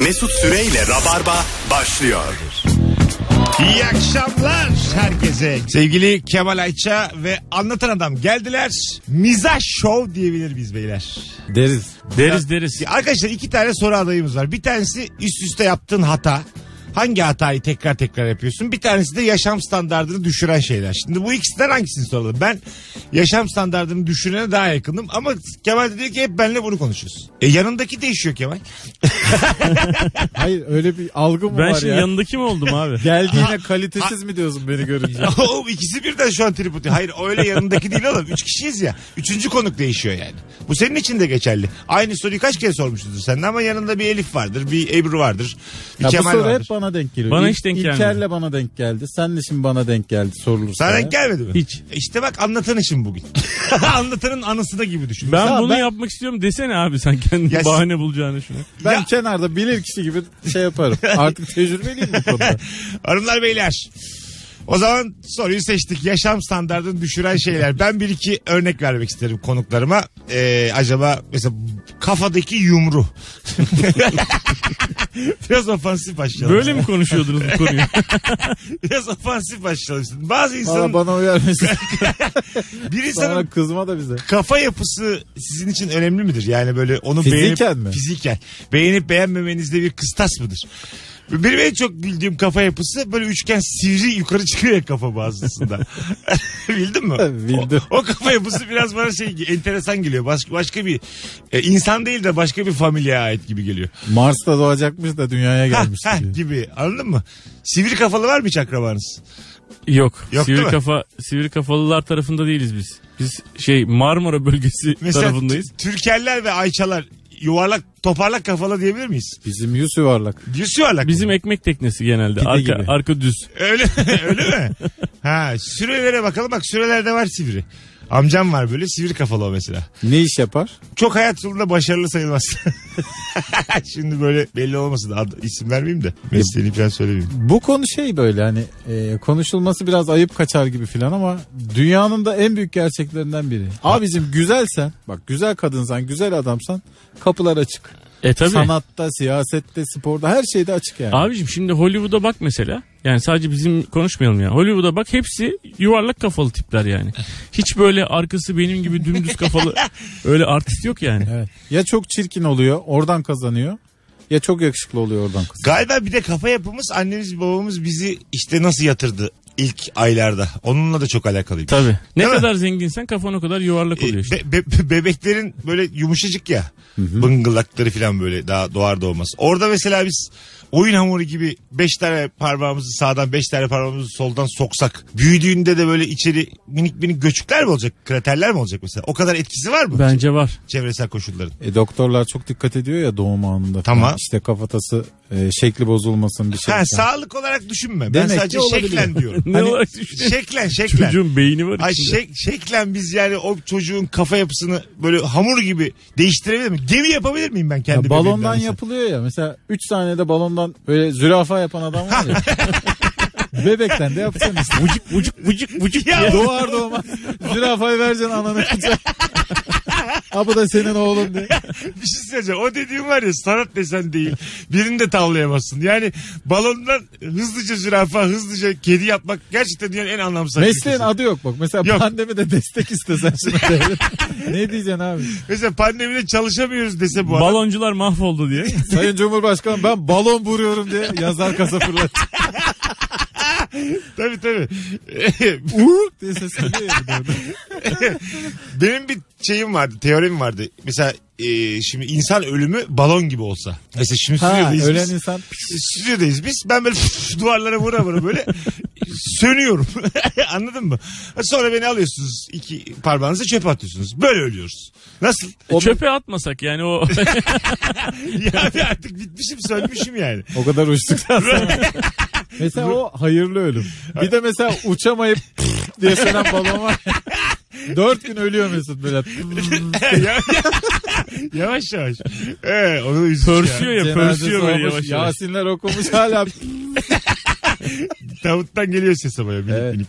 Mesut Süreyle Rabarba başlıyor. İyi akşamlar herkese. Sevgili Kemal Ayça ve Anlatan Adam geldiler. Mizah Show diyebilir biz beyler. Deriz. Deriz deriz. Ya Arkadaşlar iki tane soru adayımız var. Bir tanesi üst üste yaptığın hata. Hangi hatayı tekrar tekrar yapıyorsun? Bir tanesi de yaşam standartını düşüren şeyler. Şimdi bu ikisinden hangisini soralım? Ben yaşam standartını düşürene daha yakınım ama Kemal de diyor ki hep benle bunu konuşuyoruz. E yanındaki değişiyor Kemal. Hayır öyle bir algı mı Ben var şimdi ya? yanındaki mi oldum abi? Geldiğine kalitesiz mi diyorsun beni görünce? Oğlum ikisi birden şu an trip atıyor. Hayır öyle yanındaki değil oğlum. Üç kişiyiz ya. Üçüncü konuk değişiyor yani. Bu senin için de geçerli. Aynı soruyu kaç kere sormuşuzdur sen de ama yanında bir Elif vardır, bir Ebru vardır, bir Ya bu Kemal soru vardır. hep bana denk geliyor. Bana İlk- hiç denk İlker'le bana denk geldi. Senle şimdi bana denk geldi sorulursa. Sana ya. denk gelmedi mi? Hiç. İşte bak anlatan işim bugün. Anlatanın anısı da gibi düşün. Ben Ya bunu ben- yapmak istiyorum desene abi sen kendin Ya bahane bulacağını şuna. Ben Ya- kenarda bilir kişi gibi şey yaparım. Artık tecrübeliyim bu konuda. Hanımlar beyler. O zaman soruyu seçtik. Yaşam standartını düşüren şeyler. Ben bir iki örnek vermek isterim konuklarıma. Ee, acaba mesela kafadaki yumru. Biraz ofansif başlayalım. Böyle mi konuşuyordunuz bu konuyu? Biraz ofansif başlayalım. Şimdi Bazı Bana, insanın, bana uyar mısın? bir insanın Sonra kızma da bize. kafa yapısı sizin için önemli midir? Yani böyle onu Fiziken beğenip, mi? Fiziken. Beğenip beğenmemenizde bir kıstas mıdır? Benim en çok bildiğim kafa yapısı böyle üçgen sivri yukarı çıkıyor ya kafa bazısında. Bildin mi? Bildim. O, o kafa yapısı biraz bana şey enteresan geliyor. Başka, başka bir e, insan değil de başka bir familyaya ait gibi geliyor. Mars'ta doğacakmış da dünyaya Hah, gelmiş hah diyor. gibi anladın mı? Sivri kafalı var mı hiç akrabanız? Yok. Yok, değil sivri mi? kafa sivri kafalılar tarafında değiliz biz. Biz şey Marmara bölgesi Mesela tarafındayız. Tü- Türkeller ve Ayçalar yuvarlak toparlak kafalı diyebilir miyiz? Bizim yüz yuvarlak. Yüz yuvarlak mı? Bizim ekmek teknesi genelde. Pide Arka, gibi. arka düz. Öyle öyle mi? Ha sürelere bakalım bak sürelerde var sivri. Amcam var böyle sivri kafalı o mesela. Ne iş yapar? Çok hayat yolunda başarılı sayılmaz. Şimdi böyle belli olmasın ad, isim vermeyeyim de mesleğini falan söylemeyeyim. Bu konu şey böyle hani e, konuşulması biraz ayıp kaçar gibi filan ama dünyanın da en büyük gerçeklerinden biri. Abicim güzelsen bak güzel kadınsan güzel adamsan kapılar açık. E tabii. Sanatta, siyasette, sporda her şeyde açık yani. Abicim şimdi Hollywood'a bak mesela. Yani sadece bizim konuşmayalım yani. Hollywood'a bak hepsi yuvarlak kafalı tipler yani. Hiç böyle arkası benim gibi dümdüz kafalı öyle artist yok yani. Evet. Ya çok çirkin oluyor oradan kazanıyor ya çok yakışıklı oluyor oradan kazanıyor. Galiba bir de kafa yapımız annemiz babamız bizi işte nasıl yatırdı ilk aylarda. Onunla da çok alakalıydı. Tabii. Ne Değil mi? E, kadar zenginsen kafan o kadar yuvarlak oluyor işte. Be- be- bebeklerin böyle yumuşacık ya. Bıngıldakları falan böyle daha doğar doğmaz. Orada mesela biz oyun hamuru gibi 5 tane parmağımızı sağdan 5 tane parmağımızı soldan soksak büyüdüğünde de böyle içeri minik minik göçükler mi olacak? Kraterler mi olacak mesela? O kadar etkisi var mı? Bence var. Çevresel koşulların. E, doktorlar çok dikkat ediyor ya doğum anında. Tamam. falan. İşte kafatası e, şekli bozulmasın bir şey. ha, falan. sağlık olarak düşünme. Demek ben ki sadece olabilir. şeklen diyorum. Ne Hani- olarak düşünüyorsun? şeklen şeklen. Çocuğun beyni var şey- Ay şey- içinde. şek- şeklen biz yani o çocuğun kafa yapısını böyle hamur gibi değiştirebilir miyim? Gemi yapabilir miyim ben kendi Ya balondan bebeğimden mesela? yapılıyor ya. Mesela 3 saniyede balondan böyle zürafa yapan adam var ya. Bebekten de yapsan işte. Vıcık vıcık vıcık vıcık. Ya- Doğar doğmaz zürafayı vereceksin ananı kucağına. Ha bu da senin oğlun diye. Bir şey söyleyeceğim. O dediğim var ya sanat desen değil. Birini de tavlayamazsın. Yani balondan hızlıca zürafa, hızlıca kedi yapmak gerçekten dünyanın en anlamsız. Mesleğin aktivitesi. adı yok bak. Mesela Yok. pandemide destek istesen şimdi. devlet. ne diyeceksin abi? Mesela pandemide çalışamıyoruz dese bu adam. Baloncular mahvoldu diye. Sayın Cumhurbaşkanım ben balon vuruyorum diye yazar kasa fırlat. Tabii tabii. Uğuk diye ses geliyor ya bir de. Benim bir şeyim vardı, teorim vardı. Mesela e, şimdi insan ölümü balon gibi olsa. Mesela şimdi Ha, stüdyodayız ölen biz. insan Stüdyodayız biz. Ben böyle duvarlara vura vura böyle sönüyorum. Anladın mı? Sonra beni alıyorsunuz iki parmağınızı çöpe atıyorsunuz. Böyle ölüyoruz. Nasıl? O- E, Çöpe atmasak yani o Yani artık bitmişim sönmüşüm yani. O kadar uçtuktan sonra. mesela o hayırlı ölüm. Bir de mesela uçamayıp diye sönen balon var. ya. Dört gün ölüyor Mesut böyle. yavaş yavaş. Ee, onu da üzücü pörsüyor ya. ya Cenazesi pörsüyor böyle olmuş, yavaş yavaş. Yasinler okumuş hala. Tavuttan geliyor ses ama ya. Minik Evet. minik.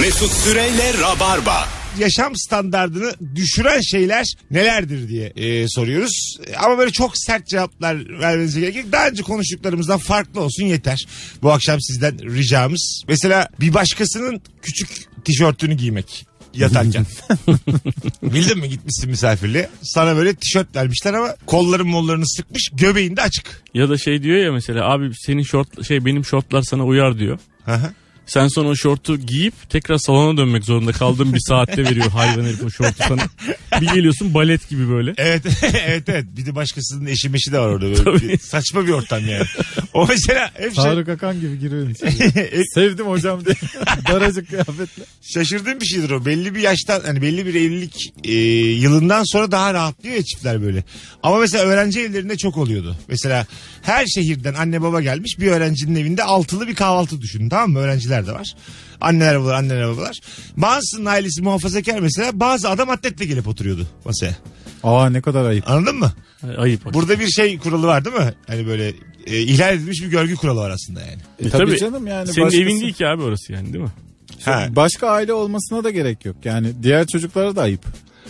Mesut Süreyle Rabarba. yaşam standartını düşüren şeyler nelerdir diye e, soruyoruz. Ama böyle çok sert cevaplar vermenize gerek yok. Daha önce konuştuklarımızdan farklı olsun yeter. Bu akşam sizden ricamız. Mesela bir başkasının küçük tişörtünü giymek yatarken. Bildin mi gitmişsin misafirliğe. Sana böyle tişört vermişler ama kolların mollarını sıkmış göbeğinde açık. Ya da şey diyor ya mesela abi senin şort şey benim şortlar sana uyar diyor. Hı hı. Sen sonra o şortu giyip tekrar salona dönmek zorunda kaldığın bir saatte veriyor hayvan herif o şortu sana. Bir geliyorsun balet gibi böyle. Evet evet evet. Bir de başkasının eşi meşi de var orada. Böyle Tabii. bir saçma bir ortam yani. O mesela hep şey, Tarık Akan gibi giriyor insan. Sevdim hocam diye. Daracık kıyafetle. şaşırdığım bir şeydir o. Belli bir yaştan hani belli bir evlilik e, yılından sonra daha rahatlıyor ya çiftler böyle. Ama mesela öğrenci evlerinde çok oluyordu. Mesela her şehirden anne baba gelmiş bir öğrencinin evinde altılı bir kahvaltı düşünün tamam mı? Öğrenciler de var. Anneler babalar anneler babalar. Bazısının ailesi muhafazakar mesela bazı adam atletle gelip oturuyordu masaya. Aa ne kadar ayıp. Anladın mı? Ayıp. hakikaten. Burada bir şey kuralı var değil mi? Hani böyle e, ihlal edilmiş bir görgü kuralı var aslında yani. E, tabii, canım yani. Senin başkası- evin değil ki abi orası yani değil mi? Ha. Başka aile olmasına da gerek yok. Yani diğer çocuklara da ayıp.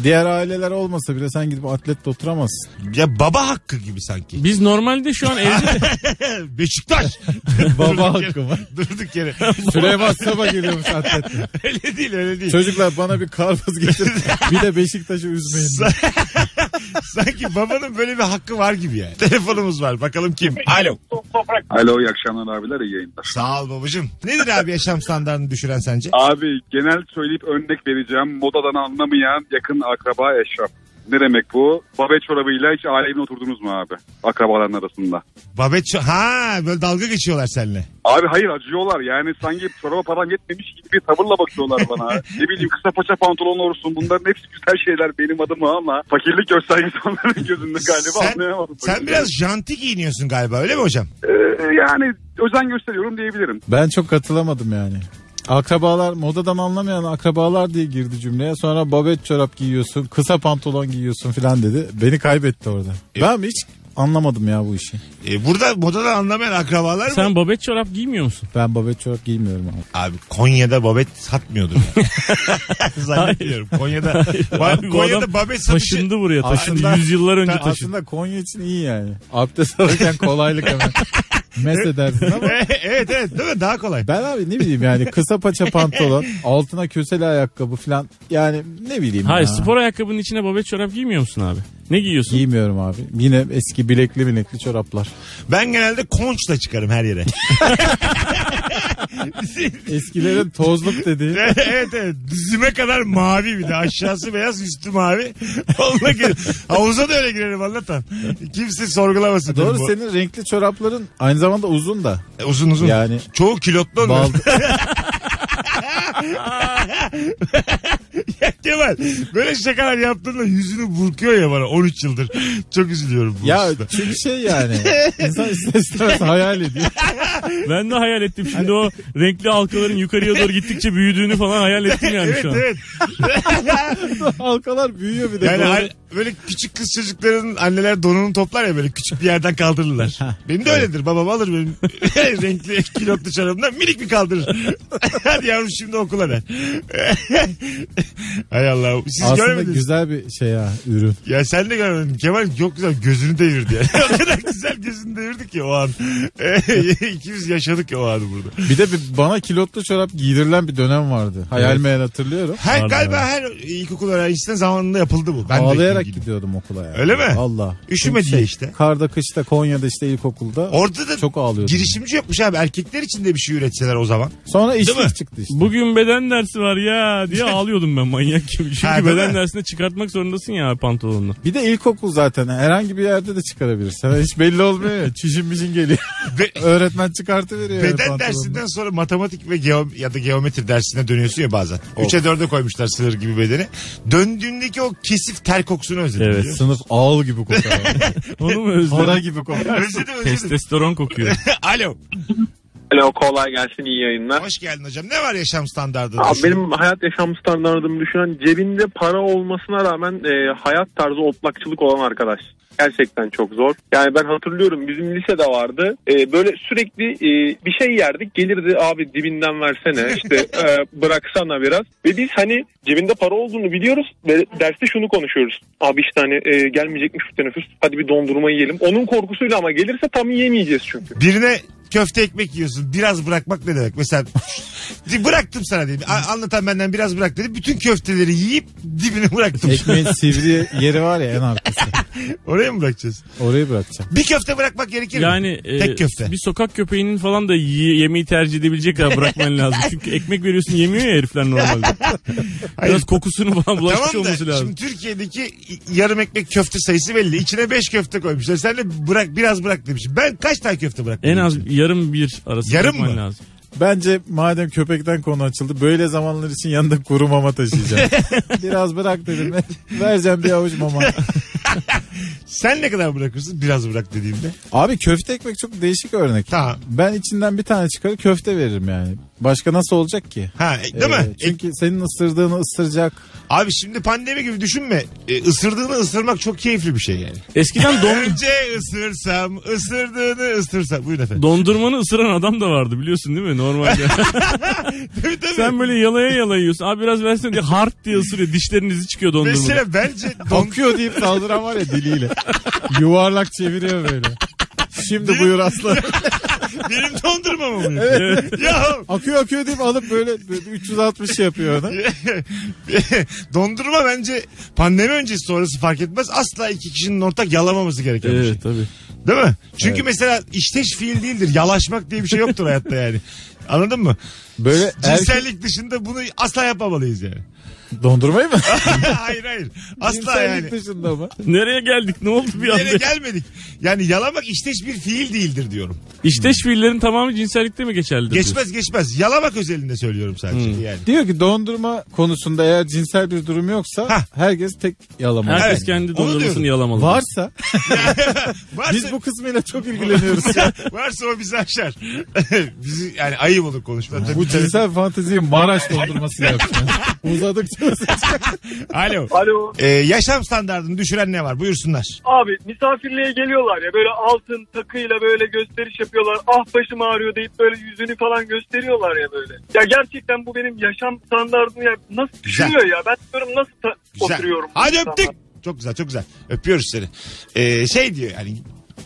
Diğer aileler olmasa bile sen gidip atletle oturamazsın. Ya baba hakkı gibi sanki. Biz normalde şu an evde de- Beşiktaş. Baba Durduk hakkı yere- var. Durduk yere. Süleyman Saba geliyormuş atletle. öyle değil öyle değil. Çocuklar bana bir karpuz getir. bir de Beşiktaş'ı üzmeyin. Sanki babanın böyle bir hakkı var gibi yani. Telefonumuz var bakalım kim? Alo. Alo iyi akşamlar abiler iyi yayınlar. Sağ ol babacığım. Nedir abi yaşam standartını düşüren sence? Abi genel söyleyip örnek vereceğim. Modadan anlamayan yakın akraba eşraf. Ne demek bu? Babe çorabıyla hiç aile evine oturdunuz mu abi? Akrabaların arasında. Babet şu- ha böyle dalga geçiyorlar seninle. Abi hayır acıyorlar yani sanki çoraba param yetmemiş gibi bir tavırla bakıyorlar bana. ne bileyim kısa paça pantolon olursun bunların hepsi güzel şeyler benim adıma ama fakirlik göstergesi onların gözünde galiba anlayamadım. sen biraz janti giyiniyorsun galiba öyle mi hocam? Ee, yani özen gösteriyorum diyebilirim. Ben çok katılamadım yani. Akrabalar modadan anlamayan akrabalar diye girdi cümleye. Sonra babet çorap giyiyorsun, kısa pantolon giyiyorsun filan dedi. Beni kaybetti orada. Ben hiç anlamadım ya bu işi. Ee, burada modadan anlamayan akrabalar mı? sen babet çorap giymiyor musun? Ben babet çorap giymiyorum abi. Abi Konya'da babet satmıyordur. yani. Zannetmiyorum. Konya'da, Ba- Abi bu Konya'da adam babet satışı. Taşındı buraya taşındı. Aslında- Yüzyıllar önce taşındı. Aslında Konya için iyi yani. Abdest alırken kolaylık hemen. Mes edersin ama. evet evet değil mi? Daha kolay. Ben abi ne bileyim yani kısa paça pantolon, altına köseli ayakkabı filan. Yani ne bileyim Hayır ya. spor ayakkabının içine babet çorap giymiyor musun abi? Ne giyiyorsun? Giymiyorum abi. Yine eski bilekli bilekli çoraplar. Ben genelde konçla çıkarım her yere. Eskilerin tozluk dediği. evet evet. Dizime kadar mavi bir de. Aşağısı beyaz üstü mavi. Onunla gir. Havuza da öyle girerim anlatan. Kimse sorgulamasın. Doğru Bu- senin renkli çorapların aynı zamanda uzun da. E, Uzun uzun. Yani Çoğu kilotlu onlar. bal Kemal böyle şakalar yaptığında yüzünü burkuyor ya bana 13 yıldır. Çok üzülüyorum bu ya hususta. çünkü şey yani. İnsan ister istemez hayal ediyor. Ben de hayal ettim şimdi o renkli halkaların yukarıya doğru gittikçe büyüdüğünü falan hayal ettim yani Evet şu an. evet. Halkalar büyüyor bir de. Yani Doğru. an- böyle küçük kız çocukların anneler donunu toplar ya böyle küçük bir yerden kaldırırlar. benim de öyledir. Babam alır benim renkli kilotlu çorabımdan minik bir kaldırır. Hadi yavrum şimdi okula der. Hay Allah. Siz Aslında görmediniz. güzel bir şey ya ürün. Ya sen de görmedin. Kemal çok güzel gözünü devirdi yani. o kadar güzel gözünü devirdi ki o an. İkimiz yaşadık ya o anı burada. Bir de bir, bana kilotlu çorap giydirilen bir dönem vardı. Hayal meyal hatırlıyorum. Her, Pardon, galiba her ilkokul öğrencisinin zamanında yapıldı bu. Ben de Ağlayarak ilgiliyim. gidiyordum okula yani. Öyle mi? Valla. Üşüme Çünkü diye şey, işte. Karda kışta Konya'da işte ilkokulda. Orada da çok ağlıyordum. girişimci yokmuş abi. Erkekler için de bir şey üretseler o zaman. Sonra Değil mi? işlik çıktı işte. Bugün beden dersi var ya diye ağlıyordum ben manyak gibi. Çünkü Ha, değil beden mi? dersine çıkartmak zorundasın ya pantolonunu. Bir de ilkokul zaten herhangi bir yerde de çıkarabilirsin. Hani Hiç belli olmuyor ya. Çişin mişin geliyor. Ve- Öğretmen çıkartıveriyor. yani Beden pantolonunu. dersinden sonra matematik ve geo- ya da geometri dersine dönüyorsun ya bazen. 3'e 4'e koymuşlar sığır gibi bedeni. Döndüğündeki o kesif ter kokusunu özledim. Evet. biliyor musun? Sınıf ağıl gibi kokar. Onu mu özledin? Hora gibi kokar. Özledim özledim. Testosteron kokuyor. Alo. Alo kolay gelsin iyi yayınlar. Hoş geldin hocam. Ne var yaşam standartında? Abi benim hayat yaşam standartımı düşünen cebinde para olmasına rağmen e, hayat tarzı otlakçılık olan arkadaş. gerçekten çok zor. Yani ben hatırlıyorum bizim lisede vardı. Ee, böyle sürekli e, bir şey yerdik. Gelirdi abi dibinden versene işte e, bıraksana biraz. Ve biz hani cebinde para olduğunu biliyoruz ve derste şunu konuşuyoruz. Abi işte hani e, gelmeyecekmiş bu teneffüs hadi bir dondurma yiyelim. Onun korkusuyla ama gelirse tam yemeyeceğiz çünkü. Birine köfte ekmek yiyorsun. Biraz bırakmak ne demek? Mesela bıraktım sana diyeyim. A- anlatan benden biraz bırak dedi. Bütün köfteleri yiyip dibini bıraktım. Ekmeğin sivri yeri var ya en arkası. Oraya mı bırakacağız? Orayı bırakacağım. Bir köfte bırakmak gerekir mi? Yani e, Tek köfte. bir sokak köpeğinin falan da y- yemeği tercih edebilecek kadar bırakman lazım. Çünkü ekmek veriyorsun yemiyor ya herifler normalde. Hayır. Biraz kokusunu falan bulaşmış Tamam da olması lazım. şimdi Türkiye'deki yarım ekmek köfte sayısı belli. İçine 5 köfte koymuşlar. Sen de bırak biraz bırak demiş. Ben kaç tane köfte bıraktım? En az yarım bir arası Yarım bırakman mı? lazım. Bence madem köpekten konu açıldı böyle zamanlar için yanında kuru mama taşıyacağım. Biraz bırak dedim. Vereceğim bir avuç mama. Sen ne kadar bırakırsın? Biraz bırak dediğimde. Abi köfte ekmek çok değişik örnek. Tamam. Ben içinden bir tane çıkarır köfte veririm yani. Başka nasıl olacak ki? Ha, e, değil Ee, mi? E, Çünkü senin ısırdığını ısıracak. abi şimdi pandemi gibi düşünme. E, ısırdığını ısırmak çok keyifli bir şey yani. Eskiden don, Önce ısırsam, ısırdığını ısırsam. Buyurun efendim. dondurmanı ısıran adam da vardı biliyorsun değil mi normalde? Tabii, tabii. Sen böyle yalaya yalaya yiyorsun. Abi biraz versene diye hard diye ısırıyor. Dişlerinizi çıkıyor dondurmada. Mesela bence don... Bakıyor deyip saldıran var ya diliyle. Yuvarlak çeviriyor böyle. Şimdi buyur aslan. benim dondurmam oluyor. Ya Akıyor akıyor deyip alıp böyle, böyle 360 şey yapıyor ona. dondurma bence pandemi öncesi sonrası fark etmez. Asla iki kişinin ortak yalamaması gereken bir şey. Evet tabii. Değil mi? Çünkü mesela işteş fiil değildir. Yalaşmak diye bir şey yoktur hayatta yani. Anladın mı? Böyle erkek... Cinsellik dışında bunu asla yapmamalıyız yani. Dondurmayı mı? hayır hayır. Asla Cinsellik yani. dışında mı? Nereye geldik ne oldu bir Bir yere anda? gelmedik. Yani yalamak işteş bir fiil değildir diyorum. İşteş fiillerin tamamı cinsellikte mi geçerlidir? Geçmez geçmez. Yalamak özelinde söylüyorum sadece yani. Diyor ki dondurma konusunda eğer cinsel bir durum yoksa Hah. herkes tek yalamalı. Herkes Evet. kendi Onu diyorum. dondurmasını yalamalı. Varsa Varsa, biz bu kısmıyla çok ilgileniyoruz. ya. varsa o bizi aşar. bizi yani ayıp olur konuşmada. bu cinsel fanteziyi Maraş dondurması yapacağız. Uzadıkça uzayacak. Alo. Alo. Ee, yaşam standartını düşüren ne var? Buyursunlar. Abi misafirliğe geliyorlar ya böyle altın takıyla böyle gösteriş yapıyorlar. Ah başım ağrıyor deyip böyle yüzünü falan gösteriyorlar ya böyle. Ya gerçekten bu benim yaşam standartımı ya nasıl Güzel. düşünüyor ya? Ben diyorum nasıl ta- Güzel. oturuyorum. Hadi İnsanlar. öptük. Çok güzel çok güzel. Öpüyoruz seni. Ee, şey diyor yani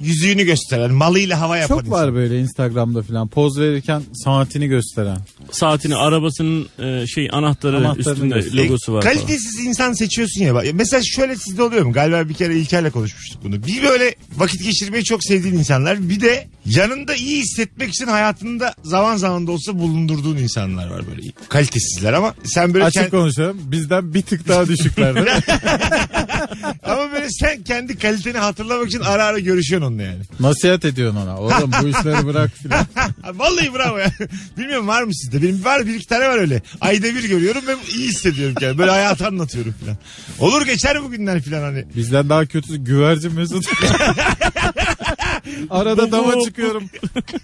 yüzüğünü gösteren malıyla hava yapan Çok var insan. böyle Instagram'da falan poz verirken saatini gösteren. Saatini arabasının e, şey anahtarı Anahtarını üstünde gösteriyor. logosu var. falan. E, Kalitesiz insan seçiyorsun ya. Bak, Mesela şöyle sizde oluyor mu? Galiba bir kere İlker'le konuşmuştuk bunu. Bir böyle vakit geçirmeyi çok sevdiğin insanlar. Bir de yanında iyi hissetmek için hayatında zaman zaman da olsa bulundurduğun insanlar var böyle. Kalitesizler ama sen böyle Açık kend- konuşalım bizden bir tık daha düşükler. değil mi? ama böyle sen kendi kaliteni hatırlamak için ara ara görüşüyorsun onunla yani. Nasihat ediyorsun ona. Oğlum bu işleri bırak filan. Vallahi bravo ya. Bilmiyorum var mı sizde? Benim var bir iki tane var öyle. Ayda bir görüyorum ve iyi hissediyorum kendimi. Böyle hayatı anlatıyorum falan. Olur geçer bugünler falan hani. Bizden daha kötüsü güvercin Mesut. Arada dama çıkıyorum.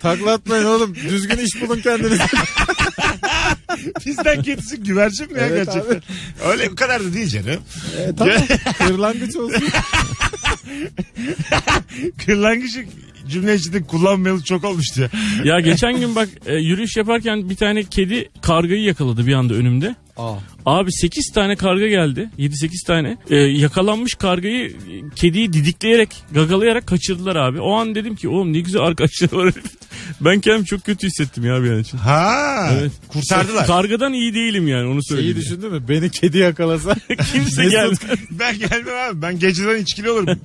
Taklatmayın oğlum. Düzgün iş bulun kendinize. Bizden kötüsü güvercin mi ya Evet gerçekten? Öyle bu kadar da değil canım. E, tamam. Kırlangıç olsun. Kırlangıcı cümle içinde kullanmayalı çok olmuştu ya. Ya geçen gün bak e, yürüyüş yaparken bir tane kedi kargayı yakaladı bir anda önümde. Aa. Abi 8 tane karga geldi. 7-8 tane. E, yakalanmış kargayı e, kediyi didikleyerek, gagalayarak kaçırdılar abi. O an dedim ki oğlum ne güzel arkadaşlar var. ben kendimi çok kötü hissettim ya bir an için. Ha. Evet. Kurtardılar. Kargadan iyi değilim yani onu Şeyi söyleyeyim. düşündün mü? Beni kedi yakalasa. Kimse Mesut- gelmedi. ben gelmem abi. Ben geceden içkili olurum.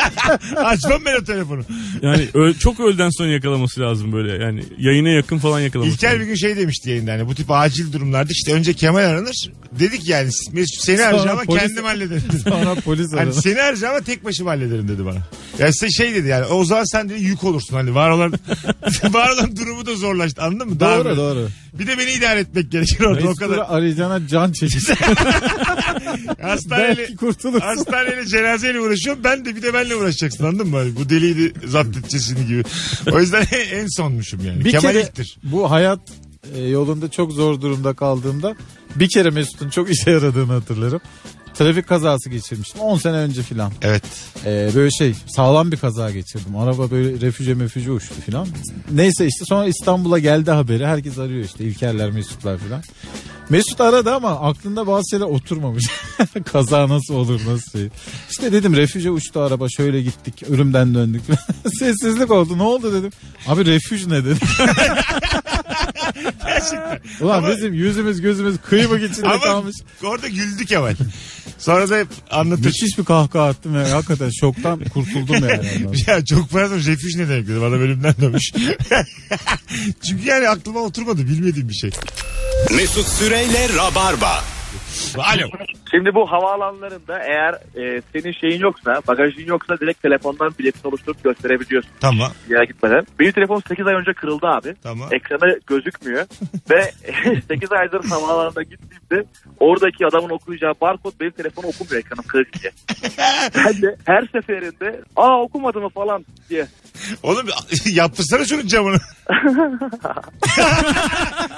Açmam ben o telefonu. Yani ö- çok öğleden sonra yakalaması lazım böyle. Yani yayına yakın falan yakalaması İlker bir lazım. gün şey demişti yayında hani bu tip acil durumlarda işte önce Kemal aranır. Dedik yani Mesut seni Sonra arayacağım ama polis- kendim hallederim. Sonra polis Hani aradı. seni arayacağım ama tek başıma hallederim dedi bana. Ya size şey dedi yani o zaman sen dedi yük olursun hani var olan var olan durumu da zorlaştı anladın mı? Daha Doğru böyle. doğru. Bir de beni idare etmek gerekir orada o Mesut'u kadar. arayacağına can çekişti. Hastaneyle, Belki kurtulursun. hastaneyle cenazeyle uğraşıyorum ben de bir de benle uğraşacaksın anladın mı? Hani bu deliydi zapt edeceğiz şimdi gibi. O yüzden en sonmuşum yani. Bir Kemal kere ilktir. bu hayat e, yolunda çok zor durumda kaldığımda bir kere Mesut'un çok işe yaradığını hatırlarım. Trafik kazası geçirmiştim 10 sene önce filan. Evet. Ee, böyle şey sağlam bir kaza geçirdim. Araba böyle refüje mefüje uçtu filan. Neyse işte sonra İstanbul'a geldi haberi. Herkes arıyor işte İlkerler Mesutlar filan. Mesut aradı ama aklında bazı şeyler oturmamış. kaza nasıl olur nasıl şey. İşte dedim refüje uçtu araba şöyle gittik ölümden döndük. Sessizlik oldu ne oldu dedim. Abi refüj ne dedim. Ulan bizim yüzümüz gözümüz kıymık içinde Ama kalmış. orada güldük hemen. Sonra da hep anlatır. Müthiş bir kahkaha attım ya. Hakikaten şoktan kurtuldum yani. ondan. Ya çok pardon refüj ne demek dedim. Adam ölümden dönmüş. Çünkü yani aklıma oturmadı bilmediğim bir şey. Mesut Süreyle Rabarba. Alo. Şimdi bu havaalanlarında eğer e, senin şeyin yoksa, bagajın yoksa direkt telefondan biletini oluşturup gösterebiliyorsun Tamam bir yere gitmeden. Benim telefon 8 ay önce kırıldı abi. tamam. Ekrana gözükmüyor ve 8 aydır havaalanına gittiğimde oradaki adamın okuyacağı barkod benim telefonu okumuyor ekranım kırık diye. ben de her seferinde aa okumadı mı falan diye. Oğlum yaptırsana şunun camını.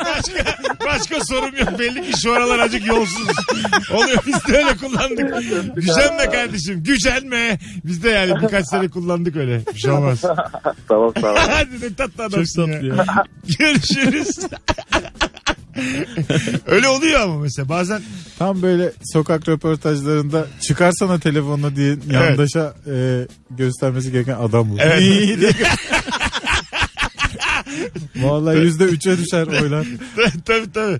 başka, başka sorum yok. Belli ki şu aralar azıcık yolsuz. Oluyor biz de öyle kullandık. Gücenme kardeşim gücenme. Biz de yani birkaç sene kullandık öyle. Bir şey olmaz. Tamam tamam. Hadi ne tatlı adamsın tatlı ya. Görüşürüz. öyle oluyor ama mesela bazen Tam böyle sokak röportajlarında çıkarsana telefonunu diye yandaşa e, göstermesi gereken adam bu. Evet. İyi diye gö- Vallahi yüzde üçe düşer oylar. tabii tabii.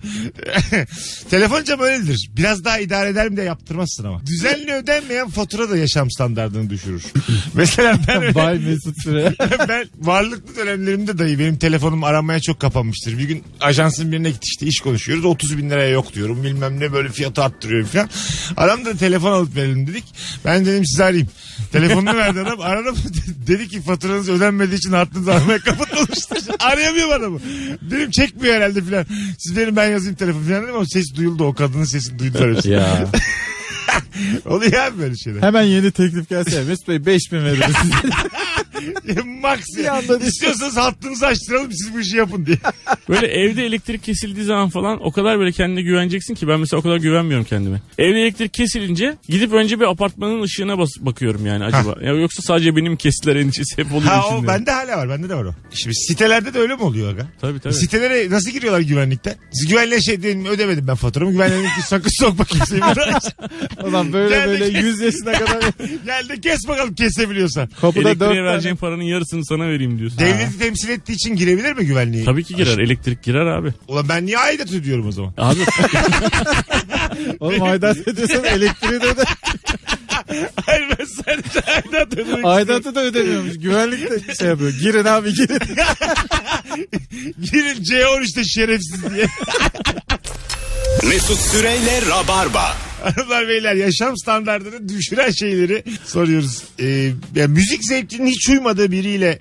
Telefon camı öyledir. Biraz daha idare eder mi de yaptırmazsın ama. Düzenli ödenmeyen fatura da yaşam standartını düşürür. Mesela ben öyle- Bay Mesut Süre. ben varlıklı dönemlerimde dahi benim telefonum aranmaya çok kapanmıştır. Bir gün ajansın birine gitti işte iş konuşuyoruz. 30 bin liraya yok diyorum bilmem ne böyle fiyatı arttırıyorum falan. Adam da telefon alıp verelim dedik. Ben dedim sizi arayayım. Telefonunu verdi adam. Aradım dedi ki faturanız ödenmediği için hattınız aramaya kapatılmıştır. Arayamıyorum adamı. Dedim çekmiyor herhalde falan. Siz verin ben yazayım telefonu falan dedim ama ses duyuldu. O kadının sesini duydular hepsi. ya. Oluyor abi böyle şeyler. Hemen yeni teklif gelse Mesut Bey 5000 veririz. Max anda düştü. istiyorsanız hattınızı açtıralım siz bu işi yapın diye. Böyle evde elektrik kesildiği zaman falan o kadar böyle kendine güveneceksin ki ben mesela o kadar güvenmiyorum kendime. Evde elektrik kesilince gidip önce bir apartmanın ışığına bas- bakıyorum yani acaba. Ya yoksa sadece benim kestiler endişesi hep oluyor Ha o içinde. bende hala var. Bende de var o. Şimdi sitelerde de öyle mi oluyor aga? Tabii tabii. Sitelere nasıl giriyorlar güvenlikten? Siz güvenliğe şey deyin ödemedim ben faturamı. Güvenliğe dedim ki sakın sokma kimseyi. buna." Ulan böyle Geldik. böyle 100 yaşına kadar Gel de kes bakalım kesebiliyorsan. kapıda Elektriğe 4 vereceğin paranın yarısını sana vereyim diyorsun. Devleti temsil ettiği için girebilir mi güvenliğe? Tabii ki girer. Elektrik girer abi. Ulan ben niye aidat ödüyorum o zaman? Abi Oğlum aidat ödüyorsan elektriği de öde. Hayır ben sadece aidat ödüyorum. Aidatı da ödemiyormuş. Güvenlik de şey yapıyor. Girin abi girin. Girin C13'te şerefsiz diye. Mesut Süreyle Rabarba. Hanımlar beyler yaşam standartını düşüren şeyleri soruyoruz. Ee, ya müzik zevkinin hiç uymadığı biriyle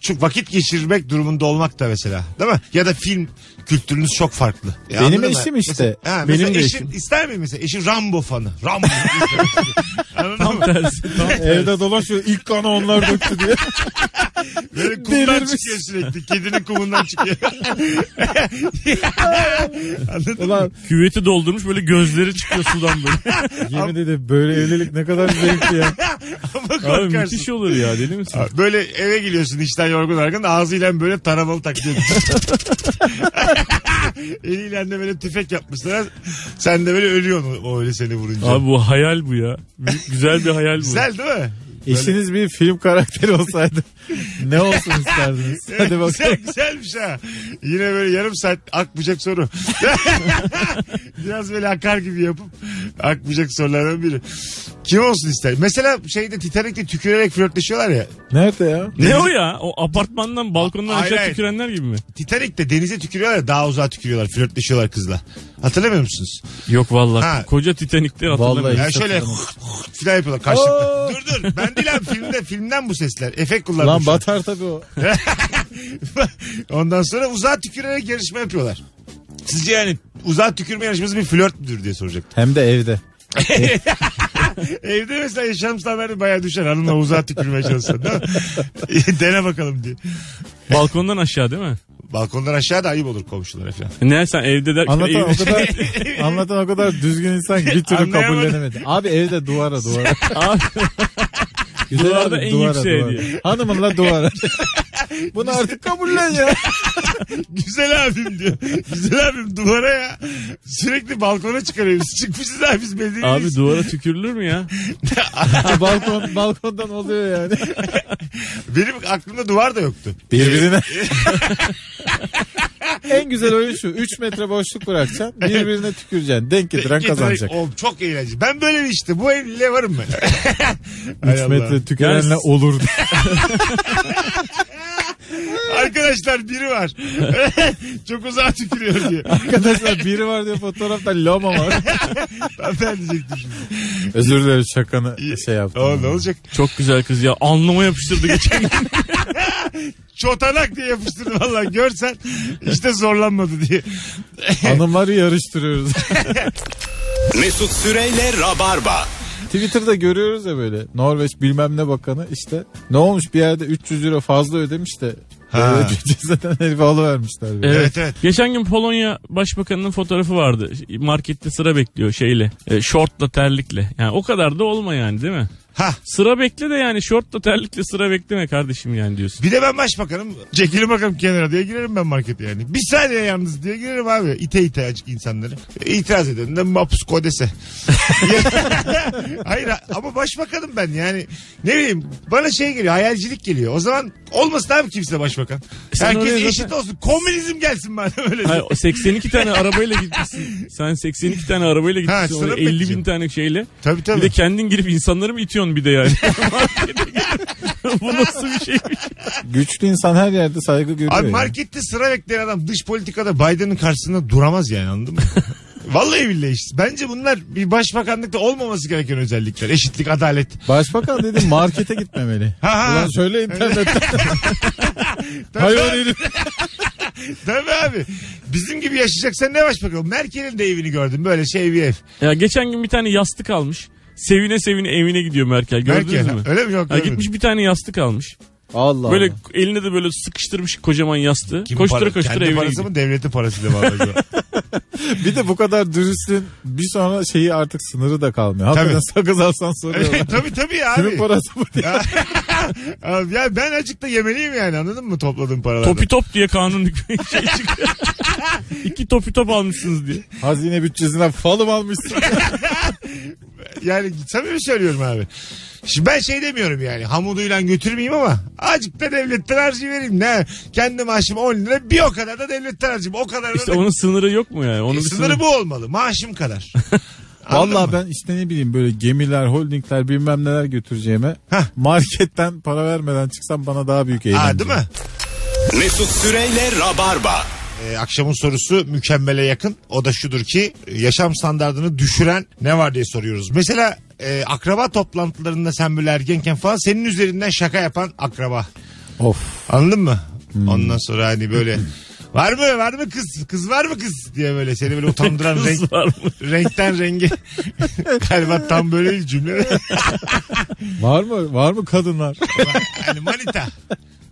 çok vakit geçirmek durumunda olmak da mesela değil mi? Ya da film kültürünüz çok farklı. Ya Benim anladın mı? eşim işte. Mesela, ha, Benim mesela de eşim, eşim. ister mi mesela? Eşim Rambo fanı. Rambo. Anladın mı? tersi. Tam Evde dolaşıyor. İlk kanı onlar döktü diye. Böyle kumdan Delirmiş. çıkıyor sürekli. Kedinin kumundan çıkıyor. Anladın mı? Ulan Küveti doldurmuş böyle gözleri çıkıyor sudan böyle. yemin ederim böyle evlilik ne kadar zevkli ya. Ama Abi korkarsın. müthiş olur ya deli misin? Böyle eve geliyorsun işten yorgun argın ağzıyla böyle taramalı takıyor. Eliyle de böyle tüfek yapmışlar. Sen de böyle ölüyorsun o öyle seni vurunca. Abi bu hayal bu ya. Büyük- Güzel bir hayal bu. Güzel değil mi? Eşiniz bir film karakteri olsaydı ne olsun isterdiniz? Hadi Güzel, bakalım. güzelmiş ha. Yine böyle yarım saat akmayacak soru. Biraz böyle akar gibi yapıp akmayacak sorulardan biri. Kim olsun ister? Mesela şeyde Titanic'te tükürerek flörtleşiyorlar ya. Nerede ya? Ne o ya? O apartmandan balkondan Hayır, aşağı hayır. tükürenler gibi mi? Titanic'te denize tükürüyorlar ya daha uzağa tükürüyorlar flörtleşiyorlar kızla. Hatırlamıyor musunuz? Yok vallahi. Ha. Koca Titanik'te hatırlamıyorum. Vallahi. Yani şöyle filan yapıyorlar karşılıklı. Dur dur ben değil abi filmde filmden bu sesler. Efekt kullanmış. Lan batar tabii o. Ondan sonra uzağa tükürerek yarışma yapıyorlar. Sizce yani uzağa tükürme yarışması bir flört müdür diye soracaktım. Hem de evde. Evde mesela yaşam standartı bayağı düşer. Hanımla uzağa tükürmeye çalışsan değil mi? Dene bakalım diye. Balkondan aşağı değil mi? Balkondan aşağı da ayıp olur komşulara falan. Ne sen evde derken Anlatan o evde- kadar anlatan o kadar düzgün insan ki bir türlü Anlayamadım. kabullenemedi. Abi evde duvara duvara. Abi, Güzel Duvarda en yükseğe diyor. duvara. Hanımınla duvara. Bunu artık kabullen ya. Güzel abim diyor. Güzel abim duvara ya. Sürekli balkona çıkarıyoruz. Çıkmışız abi biz medeniyiz. abi duvara tükürülür mü ya? Balkon balkondan oluyor yani. Benim aklımda duvar da yoktu. Birbirine. en güzel oyun şu. 3 metre boşluk bırakacaksın. Birbirine tüküreceksin. Denk getiren Getiren- kazanacak. Oğlum çok eğlenceli. Ben böyle bir işte. Bu evliliğe varım ben. 3 Hay Allah. metre tükürenle Yani- olur. Arkadaşlar biri var. çok uzağa tükürüyor diye. Arkadaşlar biri var diyor fotoğrafta loma var. Ben diyecektim şimdi. Özür dilerim şakanı şey yaptım. Oğlum ne olacak? Çok güzel kız ya. Anlama yapıştırdı geçen gün. Çotanak diye yapıştırdı valla. Görsen işte zorlanmadı diye. Hanımları yarıştırıyoruz. Mesut Süreyle Rabarba. Twitter'da görüyoruz ya böyle Norveç bilmem ne bakanı işte ne olmuş bir yerde 300 euro fazla ödemiş de Ha. böyle bir cezadan herife alıvermişler. böyle. Evet, evet. Geçen gün Polonya Başbakanı'nın fotoğrafı vardı. Markette sıra bekliyor şeyle. E, şortla terlikle. Yani o kadar da olma yani değil mi? Ha. Sıra bekle de yani şortla terlikle sıra bekleme kardeşim yani diyorsun. Bir de ben başbakanım. Çekilin bakalım kenara diye girerim ben markete yani. Bir saniye yalnız diye girerim abi. İte ite acık insanları. İtiraz eden de mapus kodese. Hayır ama başbakanım ben yani. Ne bileyim bana şey geliyor hayalcilik geliyor. O zaman olmasın abi kimse başbakan. E, Sen Herkes oraya zaten- eşit olsun. Komünizm gelsin bana öyle. Hayır, o 82 tane arabayla gitmişsin. Sen 82 tane Ha, arabayla gitmişsin. sıra oraya 50 bekleyeceğim. bin tane şeyle. Tabii Bir tabii. de kendin girip insanları mı itiyorsun bir de yani? Bu nasıl bir şey? Güçlü insan her yerde saygı görüyor. Abi ya. markette sıra bekleyen adam dış politikada Biden'ın karşısında duramaz yani anladın mı? Vallahi billahi işte. Bence bunlar bir başbakanlıkta olmaması gereken özellikler. Eşitlik, adalet. Başbakan dedi markete gitmemeli. Ha ha. Ulan söyle internette. Tabii Hayvan abi, herif. Tabii abi. Bizim gibi yaşayacaksan ne başbakan? Merkel'in de evini gördüm böyle şey bir ev. Ya geçen gün bir tane yastık almış. Sevine sevine evine gidiyor Merkel. Gördünüz Merkel. mü? Öyle mi? Yok, Ha, görmedim. gitmiş bir tane yastık almış. Allah Böyle Allah. eline de böyle sıkıştırmış kocaman yastığı. Kim koştura para- koştura Kendi evine parası gidiyor. mı devletin parasıyla mı alacak? Bir de bu kadar dürüstlüğün bir sonra şeyi artık sınırı da kalmıyor. Hakikaten sakız alsan soruyorlar. Evet, tabii tabii ya abi. Kimin parası bu diye. Abi ya ben acık da yemeliyim yani anladın mı topladığım paralardan. Topi top diye kanun hükmü şey çıkıyor. İki topi top almışsınız diye. Hazine bütçesinden falım almışsın. Yani samimi söylüyorum abi. Şimdi ben şey demiyorum yani hamuduyla götürmeyeyim ama azıcık da devletten harcayıvereyim. Ne? Kendi maaşım 10 lira bir o kadar da devletten harcayayım. O kadar İşte da onun sınırı yok mu yani? Onun bir sınırı bu olmalı. Maaşım kadar. Anladın Valla mı? ben işte ne bileyim böyle gemiler, holdingler bilmem neler götüreceğime Hah. marketten para vermeden çıksam bana daha büyük eğlence. Aa, değil mi? Mesut Süreyle Rabarba. Ee, akşamın sorusu mükemmele yakın. O da şudur ki e, yaşam standartını düşüren ne var diye soruyoruz. Mesela e, akraba toplantılarında sen böyle ergenken falan senin üzerinden şaka yapan akraba. Of. Anladın mı? Ondan sonra hani böyle var mı var mı kız kız var mı kız diye böyle seni böyle utandıran renk, var mı? renkten renge galiba tam böyle bir cümle. Var mı? Var mı kadınlar? hani manita.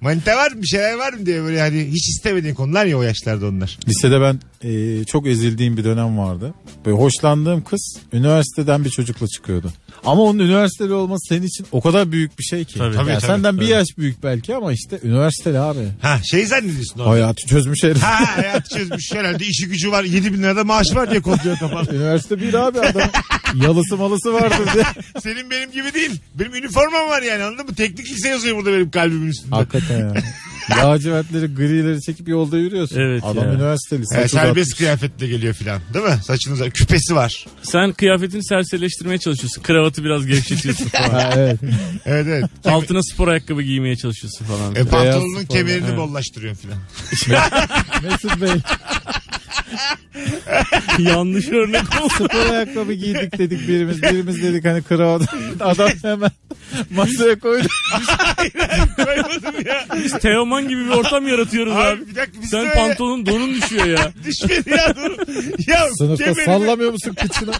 Manita var mı bir şeyler var mı diye böyle hani hiç istemediğin konular ya o yaşlarda onlar. Lisede ben e, çok ezildiğim bir dönem vardı. Böyle hoşlandığım kız üniversiteden bir çocukla çıkıyordu. Ama onun üniversiteli olması senin için o kadar büyük bir şey ki. Tabii. Tabii, Yani tabii. senden bir yaş büyük belki ama işte üniversiteli abi. Ha şey zannediyorsun orada. Hayatı çözmüş herif. Ha hayat çözmüş herhalde işi gücü var 7 bin lirada maaş var diye kodluyor kafan. Üniversite bir abi adam. Yalısı malısı vardır diye. Senin benim gibi değil. Benim üniformam var yani anladın mı? Teknik lise yazıyor burada benim kalbimin üstünde. Hakikaten ya. Lacivertleri grileri çekip yolda yürüyorsun. Evet Adam ya. üniversiteli. Yani saç uzatmış. serbest kıyafetle geliyor filan değil mi? Saçınız var. Küpesi var. Sen kıyafetini serseleştirmeye çalışıyorsun. Kravatı biraz gevşetiyorsun falan. Ha, evet. Evet evet. Altına spor ayakkabı giymeye çalışıyorsun falan. E, pantolonun spor, kemerini evet. bollaştırıyorsun filan. Mesut Bey Yanlış örnek oldu. spor ayakkabı giydik dedik birimiz. Birimiz dedik hani kravat. Adam hemen masaya koydu. Koymadım ya. Biz Teoman gibi bir ortam yaratıyoruz abi. Abi bir dakika biz Sen de pantolonun donun düşüyor ya. düşmedi ya dur. Ya Sınıfta kemerimi, sallamıyor musun kıçını?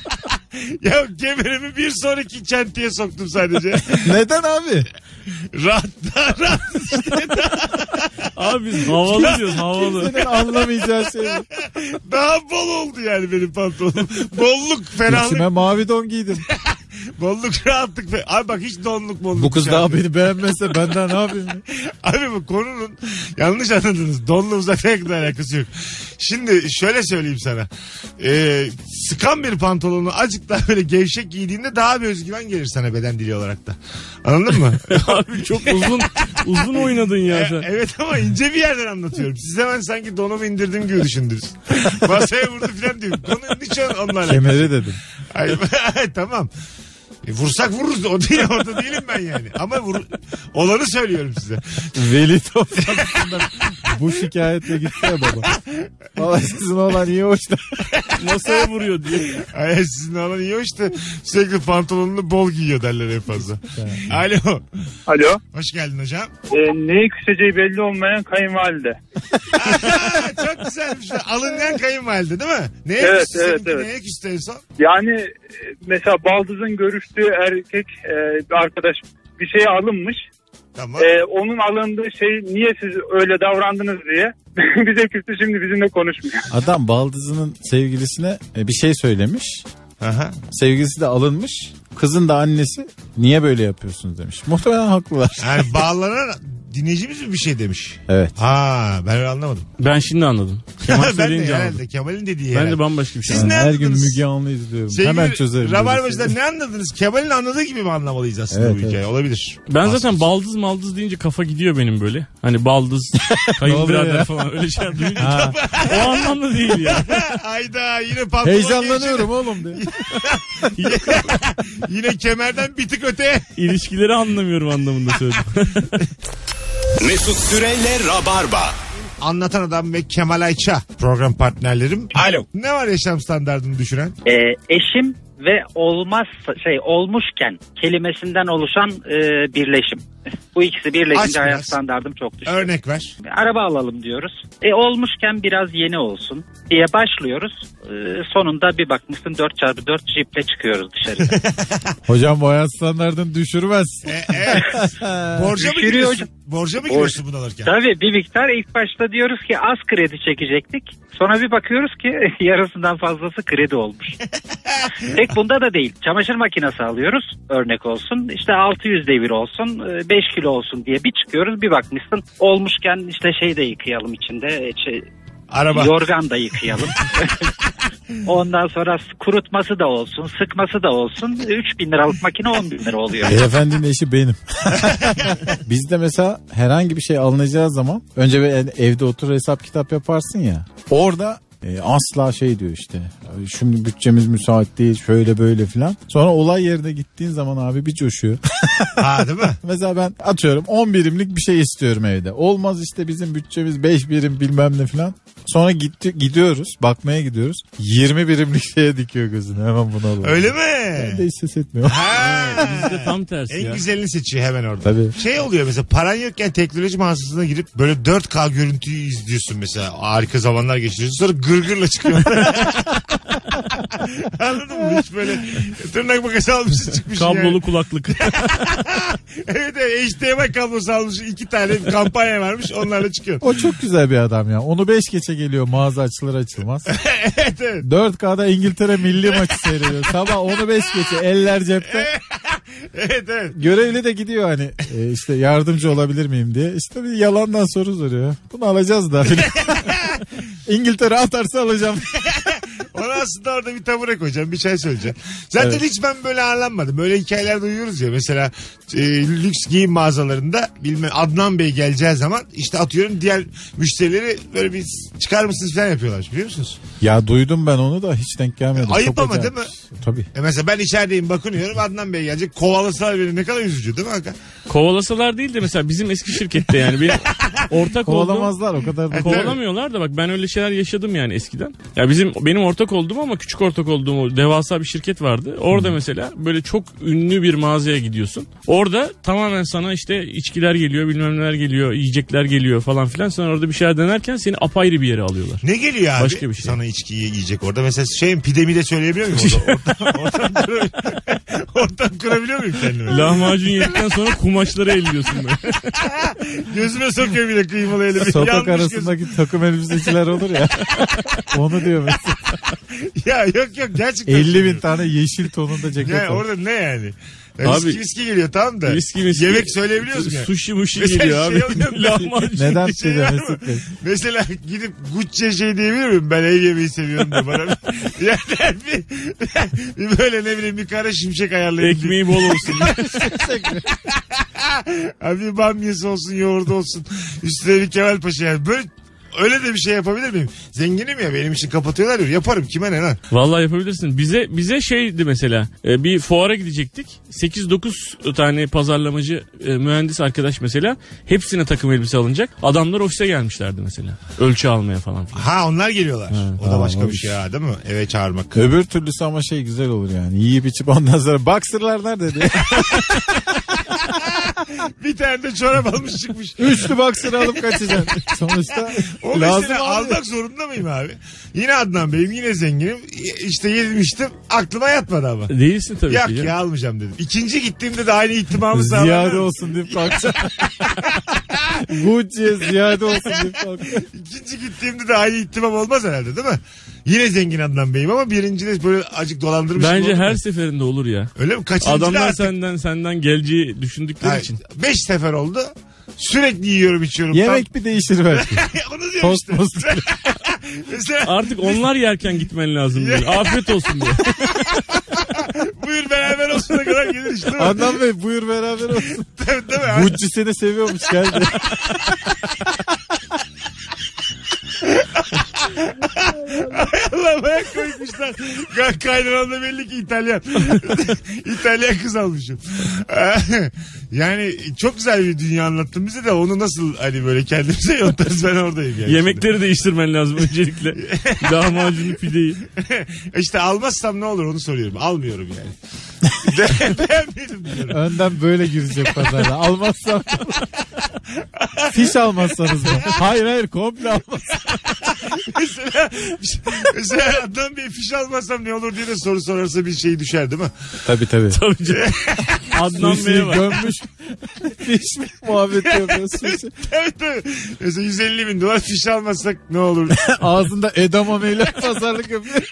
ya kemerimi bir sonraki çentiye soktum sadece. Neden abi? rahat rahat. Abi biz havalı diyoruz havalı. Senin anlamayacağı şey. bu. Daha bol oldu yani benim pantolonum. Bolluk, ferahlık, İçime mavi don giydim. bolluk, rahatlık. fe- Abi bak hiç donluk bolluk. Bu kız şey daha yapmıyor. beni beğenmezse benden ne yapayım? ya? Abi bu konunun yanlış anladınız. Donlu uzaklıkla alakası yok. Şimdi şöyle söyleyeyim sana. Ee, sıkan bir pantolonu azıcık daha böyle gevşek giydiğinde daha bir özgüven gelir sana beden dili olarak da. Anladın mı? Abi çok uzun uzun oynadın ya E- sen. evet ama ince bir yerden anlatıyorum. Siz hemen sanki donumu indirdim gibi düşündünüz. Masaya vurdu falan diyor. Konu hiç onunla alakalı. Kemeri dedim. Ay, tamam. E, vursak vururuz. O değil orada değilim ben yani. Ama vur, olanı söylüyorum size. Veli toplantısından bu şikayetle gitti ya baba. Vallahi sizin oğlan iyi hoşta. Masaya vuruyor diye. Ay, sizin alan iyi işte sürekli pantolonunu bol giyiyor derler en fazla. Alo. Alo. Hoş geldin hocam. neyi E, küseceği belli olmayan kayınvalide. Ha, çok güzelmiş. Alıngan kayınvalide değil mi? Neye Evet, küstü evet, seninki? evet. Neye küstü en son? Yani e, mesela baldızın görüştüğü erkek e, bir arkadaş bir şeye alınmış. Tamam. E, onun alındığı şey niye siz öyle davrandınız diye bize küstü şimdi bizimle konuşmuyor. Adam baldızının sevgilisine e, bir şey söylemiş. Aha. Sevgilisi de alınmış. Kızın da annesi niye böyle yapıyorsunuz demiş. Muhtemelen haklılar. Yani bağlanan dinleyicimiz mi bir şey demiş? Evet. Ha ben öyle anlamadım. Ben şimdi anladım. Kemal ben de söyleyince anladım. herhalde Kemal'in dediği Ben de herhalde. bambaşka bir şey Siz Ben anladım. ne her gün anladınız? Müge Anlı izliyorum. Sevgili Hemen çözerim. Rabarbacılar ne anladınız? Kemal'in anladığı gibi mi anlamalıyız aslında Evet, bu hikaye? evet. Olabilir. Ben zaten baldız maldız deyince kafa gidiyor benim böyle. Hani baldız, Ne oluyor ya? kayınbirader falan öyle şeyler duyunca. o anlamda değil ya. Ayda yine pantolon Heyecanlanıyorum oğlum diye. gevşedi. yine kemerden bir tık öteye. İlişkileri anlamıyorum anlamında söyledim. Mesut Süreyle Rabarba. Anlatan Adam ve Kemal Ayça program partnerlerim. Alo. Ne var yaşam standartını düşüren? Ee, eşim ve olmaz şey olmuşken kelimesinden oluşan e, birleşim. Bu ikisi Aç birleşince biraz. hayat standardım çok düşüyor. Örnek ver. Araba alalım diyoruz. E olmuşken biraz yeni olsun diye başlıyoruz. E, sonunda bir bakmışsın 4x4 jiple çıkıyoruz dışarı. Hocam bu hayat standartını düşürmez. E, evet. Borca mı Düşürüyor giriyorsun? hocam. Borca mı giriyorsun bunu alırken? Tabii bir miktar ilk başta diyoruz ki az kredi çekecektik. Sonra bir bakıyoruz ki yarısından fazlası kredi olmuş. Tek bunda da değil. Çamaşır makinesi alıyoruz örnek olsun. İşte 600 devir olsun, e, 5 kilo olsun diye bir çıkıyoruz. Bir bakmışsın olmuşken işte şey de yıkayalım içinde. e, Şey, Araba. yorgan da yıkayalım. Ondan sonra kurutması da olsun, sıkması da olsun. 3000 liralık makine 10 bin lira oluyor. Beyefendinin eşi benim. Bizde mesela herhangi bir şey alınacağı zaman önce bir el- evde otur hesap kitap yaparsın ya. Orada e, asla şey diyor işte. "Abi Şimdi bütçemiz müsait değil şöyle böyle filan. Sonra olay yerine gittiğin zaman abi bir coşuyor. Ha değil mi? mesela ben atıyorum 10 birimlik bir şey istiyorum evde. Olmaz işte bizim bütçemiz 5 birim bilmem ne filan. Sonra gitti, gidiyoruz bakmaya gidiyoruz. 20 birimlik şeye dikiyor gözünü hemen bunu alalım. Öyle Ben de mi? hiç ses etmiyorum. Ha. Bizde tam tersi En ya. güzelini seçiyor hemen orada. Tabii. Şey oluyor mesela paran yokken teknoloji mağazasına girip böyle 4K görüntüyü izliyorsun mesela. Harika zamanlar geçiriyorsun. Sonra gırgırla çıkıyor. Anladın mı? Hiç böyle tırnak makası almışsın çıkmış. Kablolu kulaklık. Evet evet HDMI kablosu almış iki tane kampanya varmış onlarla çıkıyor. O çok güzel bir adam ya. Onu 5 geçe geliyor mağaza açılır açılmaz. evet evet. 4K'da İngiltere milli maçı seyrediyor. Sabah onu 5 geçe eller cepte. Evet evet. Görevli de gidiyor hani e, işte yardımcı olabilir miyim diye. İşte bir yalandan soru soruyor. Bunu alacağız da. İngiltere atarsa alacağım. Ona aslında orada bir tabure koyacağım bir çay söyleyeceğim. Zaten Evet. hiç ben böyle ağırlanmadım. Böyle hikayeler duyuyoruz ya mesela e, lüks giyim mağazalarında bilmem Adnan Bey geleceği zaman işte atıyorum diğer müşterileri böyle bir çıkar mısınız falan yapıyorlar biliyor musunuz? Ya duydum ben onu da hiç denk gelmedi. Ayıp Çok ama acayip. değil Tabii. E mesela ben içerideyim bakınıyorum Adnan Bey gelecek kovalasalar beni ne kadar üzücü değil mi Hakan? Kovalasalar değil de mesela bizim eski şirkette yani benim ortak olduğum... Kovalamazlar o kadar da. Kovalamıyorlar da bak ben öyle şeyler yaşadım yani eskiden. Ya bizim benim ortak ortak olduğum ama küçük ortak olduğum devasa bir şirket vardı. Orada mesela böyle çok ünlü bir mağazaya gidiyorsun. Orada tamamen sana işte içkiler geliyor, bilmem neler geliyor, yiyecekler geliyor falan filan. Sen orada bir şeyler denerken seni apayrı bir yere alıyorlar. Ne geliyor abi? Başka bir şey. Sana içki yiyecek orada. Mesela şey pide mi de söyleyebiliyor muyum? Orada, ortam, ortam, kurabiliyor, ortam kurabiliyor muyum kendime? Lahmacun yedikten sonra kumaşları elliyorsun böyle. Gözüme sokuyor bile kıymalı elimi. Sokak Yanmış arasındaki takım elbiseciler olur ya. Onu diyor mesela. gözüm. Ya yok yok gerçekten. 50 bin tane yeşil tonunda ceket Ya var. orada ne yani? Abi- Abi, viski viski geliyor tamam da. Viski miski. Yemek söyleyebiliyor musun? yani? Sushi muşi Mesela geliyor şey abi. oluyor mu? Lahmacun. Neden Bir şey pide var mı? Mesut Bey? Mesela gidip Gucci'ye şey diyebilir miyim? Ben ev yemeği seviyorum da bana. bir- yerden bir, bir böyle ne bileyim bir kara şimşek ayarlayayım. diye. Ekmeği bol olsun. Abi bir bamyası olsun yoğurdu olsun. Üstüne bir Kemal Paşa yani. Böyle öyle de bir şey yapabilir miyim? Zenginim ya benim için kapatıyorlar diyor. Yaparım kime ne lan? Vallahi yapabilirsin. Bize bize şeydi mesela. e, Bir fuara gidecektik. 8-9 tane pazarlamacı e, mühendis arkadaş mesela hepsine takım elbise alınacak. Adamlar ofise gelmişlerdi mesela. Ölçü almaya falan filan. Ha onlar geliyorlar. o da tamam, başka bir olmuş. şey ha değil mi? Eve çağırmak. Öbür türlüsü ama şey güzel olur yani. Yiyip içip ondan sonra baksırlar nerede diye. bir tane de çorap almış çıkmış. Üçlü baksır alıp kaçacaksın. Sonuçta O lazım mesela abi. almak zorunda mıyım abi? Yine Adnan Bey'im yine zenginim. İşte yedim içtim aklıma yatmadı ama. Değilsin tabii Yok ki. ya Ya. almayacağım dedim. İkinci gittiğimde de aynı ihtimamı sağladım. Ziyade olsun deyip kalkacaksın. Gucci'ye ziyade olsun deyip kalkacaksın. İkinci gittiğimde de aynı ihtimam olmaz herhalde değil mi? Yine zengin Adnan Bey'im ama birinci de böyle acık dolandırmışım. Bence oldu her mu? seferinde olur ya. Öyle mi? Kaçıncı da Adamlar artık? senden senden geleceği düşündükleri Hayır, için. Beş sefer oldu. Sürekli yiyorum içiyorum. Yemek bir değişir belki. Tam- Onu diyorum Tost işte. most. Mesela Artık onlar yerken gitmen lazım diye. Afiyet olsun diye. buyur beraber olsun ne kadar gelir işte. değil mi? Adnan Bey buyur beraber olsun. Tabii, değil mi? Gucci seni seviyormuş geldi. Allah bayağı koymuşlar. Ka- Kaynanan da belli ki İtalyan. İtalyan kız almışım. yani çok güzel bir dünya anlattın bize de onu nasıl hani böyle kendimize yontarız ben oradayım yani. Yemekleri değiştirmen lazım öncelikle. Lahmacunlu pideyi. işte almazsam ne olur onu soruyorum. Almıyorum yani. Be- Beğenmedim diyorum. Önden böyle girecek pazarda. Almazsam. Fiş almazsanız mı? Hayır hayır komple almaz. Mesela, mesela Adnan Bey fiş almazsam ne olur diye de soru sorarsa bir şey düşer değil mi? Tabii tabii. Tabii canım. Adnan Fişi Bey'e bak. gömmüş. Fiş muhabbeti yapıyorsun. Evet evet. Mesela 150 bin dolar fiş almazsak ne olur? Ağzında edameyle pazarlık yapıyor.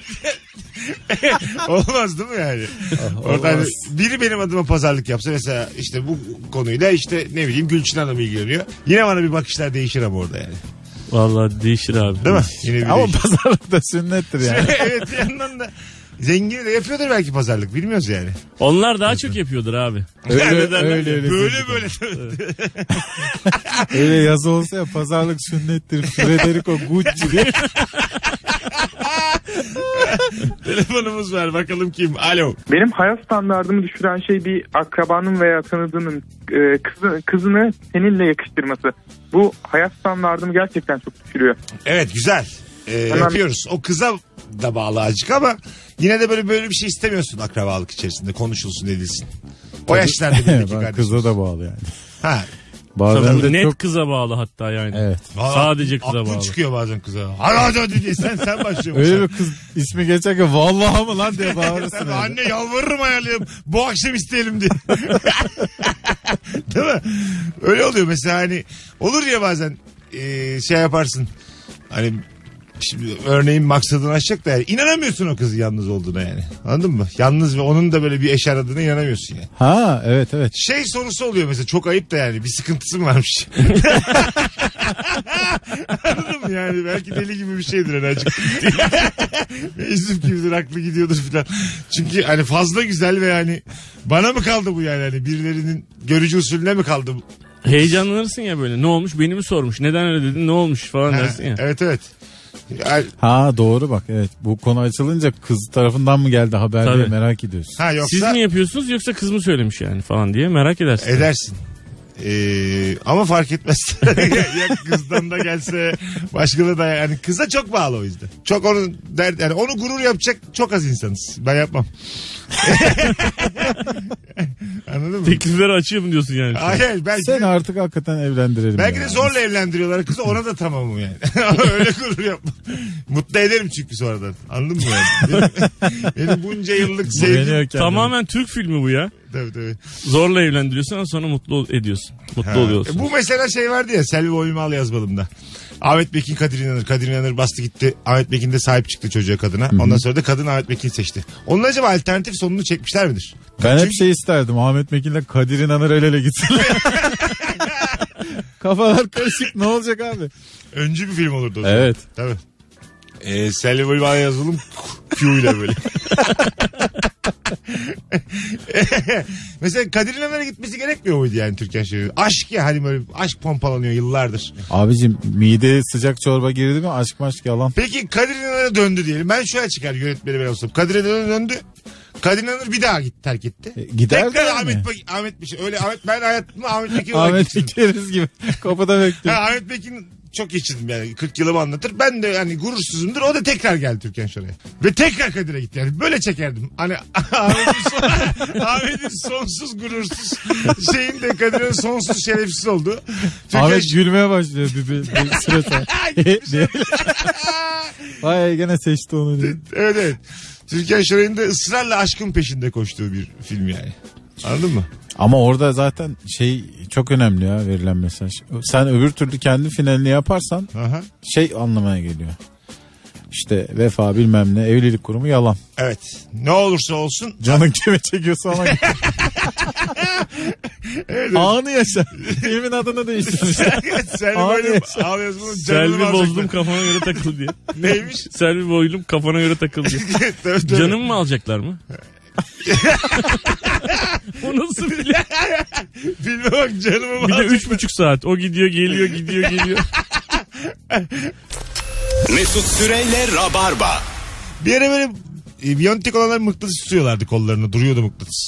Olmaz değil mi yani? Ah, Orada hani biri benim adıma pazarlık yapsa mesela işte bu konuyla işte ne bileyim Gülçin Hanım ilgileniyor. Yine bana bir bakışlar değişir ama orada yani. Vallahi değişir abi. Değil mi? Yine bir Ama değişir. pazarlık da sünnettir yani. evet bir yandan da zengini de yapıyordur belki pazarlık bilmiyoruz yani. Onlar daha çok yapıyordur abi. Öyle öyle Neden- öyle. böyle Öyle, böyle. öyle yazı olsa ya pazarlık sünnettir. Frederico Gucci diye. Telefonumuz var bakalım kim? Alo. Benim hayat standartımı düşüren şey bir akrabanın veya tanıdığının e, kızı, kızını seninle yakıştırması. Bu hayat standartımı gerçekten çok düşürüyor. Evet güzel. Ee, Hemen- yapıyoruz. O kıza da bağlı azıcık ama yine de böyle böyle bir şey istemiyorsun akrabalık içerisinde konuşulsun edilsin. O yaşlarda bizdeki Ben kardeşimiz. Kıza da bağlı yani. Ha, Bazen de Net çok... kıza bağlı hatta yani. Evet. Vallahi Sadece kıza aklın bağlı. çıkıyor bazen kıza. Hadi hadi hadi diye sen sen başlıyorsun. Öyle bir kız ismi geçerken vallahi mı lan diye bağırırsın. Tabii yani. anne yalvarırım ayarlayalım. Bu akşam isteyelim diye. Değil mi? Öyle oluyor mesela hani olur ya bazen e, şey yaparsın. Hani şimdi örneğin maksadını aşacak da yani inanamıyorsun o kızın yalnız olduğuna yani. Anladın mı? Yalnız ve onun da böyle bir eş aradığına inanamıyorsun yani. Ha evet evet. Şey sorusu oluyor mesela çok ayıp da yani bir sıkıntısı mı varmış? Anladın mı yani belki deli gibi bir şeydir hani azıcık. Yüzüm gibidir aklı gidiyordur filan. Çünkü hani fazla güzel ve yani bana mı kaldı bu yani hani birilerinin görücü usulüne mi kaldı bu? Heyecanlanırsın ya böyle. Ne olmuş? Beni mi sormuş? Neden öyle dedin? Ne olmuş falan Ha, dersin ya. evet evet. Yani- Ha doğru bak evet. Bu konu açılınca kız tarafından mı geldi haber diye Tabii. merak ediyorsun. Ha yoksa Siz mi yapıyorsunuz yoksa kız mı söylemiş yani falan diye merak edersin. edersin. Ee, ama fark etmez. ya kızdan da gelse başkaları da yani kıza çok bağlı o yüzden. Çok onun der yani onu gurur yapacak çok az insanız. Ben yapmam. Anladın mı? Teklifleri açayım diyorsun yani. Hayır belki Seni artık hakikaten evlendirelim. Belki ya. de zorla evlendiriyorlar kızı ona da tamamım yani. Öyle gurur yapma. Mutlu ederim çünkü sonradan. Anladın mı yani? Benim, benim bunca yıllık sevgim. Beğeniyor kendini. Tamamen Türk filmi bu ya. Tabii, tabii. Zorla evlendiriyorsun ama sonra mutlu ol- ediyorsun. Mutlu Ha. oluyorsun. E, Bu mesela şey vardı ya Selvi Oymal yazmadım da. Ahmet Bekin Kadir İnanır. Kadir İnanır bastı gitti. Ahmet Bekin de sahip çıktı çocuğa kadına. Ondan sonra da kadın Ahmet Bekin'i seçti. Onun acaba alternatif sonunu çekmişler midir? Ben hep Çünkü- şey isterdim. Ahmet Mekin'le Kadir İnanır el ele gitsinler. Kafalar karışık ne olacak abi? Öncü bir film olurdu o zaman. Evet. Tabii. Ee, Selvi Oymal yazılım Q ile böyle. Mesela Kadir İnanır'a gitmesi gerekmiyor muydu yani Türkan Şener'in? Aşk ya hani böyle aşk pompalanıyor yıllardır. Abicim mideye sıcak çorba girdi mi aşk maşk yalan. Peki Kadir İnanır'a döndü diyelim. Ben şöyle çıkar yönetmeni ben olsam. Kadir İnanır döndü. Kadir İnanır bir daha gitti terk etti. E, gider Tekrar de Ahmet, mi? Bak- Ahmet bir şey. Öyle Ahmet ben hayatımda Ahmet Pekin olarak Ahmet geçirdim. Fikiriz gibi. Kapıda bekliyor. Ha, Ahmet Pekin çok geçirdim yani 40 yılımı anlatır. Ben de yani gurursuzumdur. O da tekrar geldi Türkan şuraya. Ve tekrar Kadir'e gitti yani. Böyle çekerdim. Hani Ahmet'in, son, Ahmet'in sonsuz gurursuz şeyin de Kadir'in sonsuz şerefsiz oldu. Türkan Ahmet Şoray- gülmeye başlıyor bir, bir, bir süre sonra. Diye. Vay gene seçti onu diye. Evet evet. Türkan Şoray'ın da ısrarla aşkın peşinde koştuğu bir film yani. Anladın mı? Ama orada zaten şey çok önemli ya verilen mesaj. Sen öbür türlü kendi finalini yaparsan Aha. şey anlamaya geliyor. İşte vefa bilmem ne evlilik kurumu yalan. Evet. Ne olursa olsun. Canın kime çekiyorsa ona gel. Anı yaşa. Filmin adını değiştirmişler. Selvi Abi Boylum yaşa. Al yazmanın canını Selvi alacaklar. bozdum kafana göre takıl diye. Neymiş? Selvi boylum kafana göre takıl diye. Tabii, tabii. Canım mı alacaklar mı? o nasıl bile? Filme bak canımı Bir de alacak. üç buçuk saat. O gidiyor geliyor gidiyor geliyor. Mesut Süreyle Rabarba. Bir yere böyle e, biyontik olanlar mıknatıs tutuyorlardı kollarını. Duruyordu mıknatıs.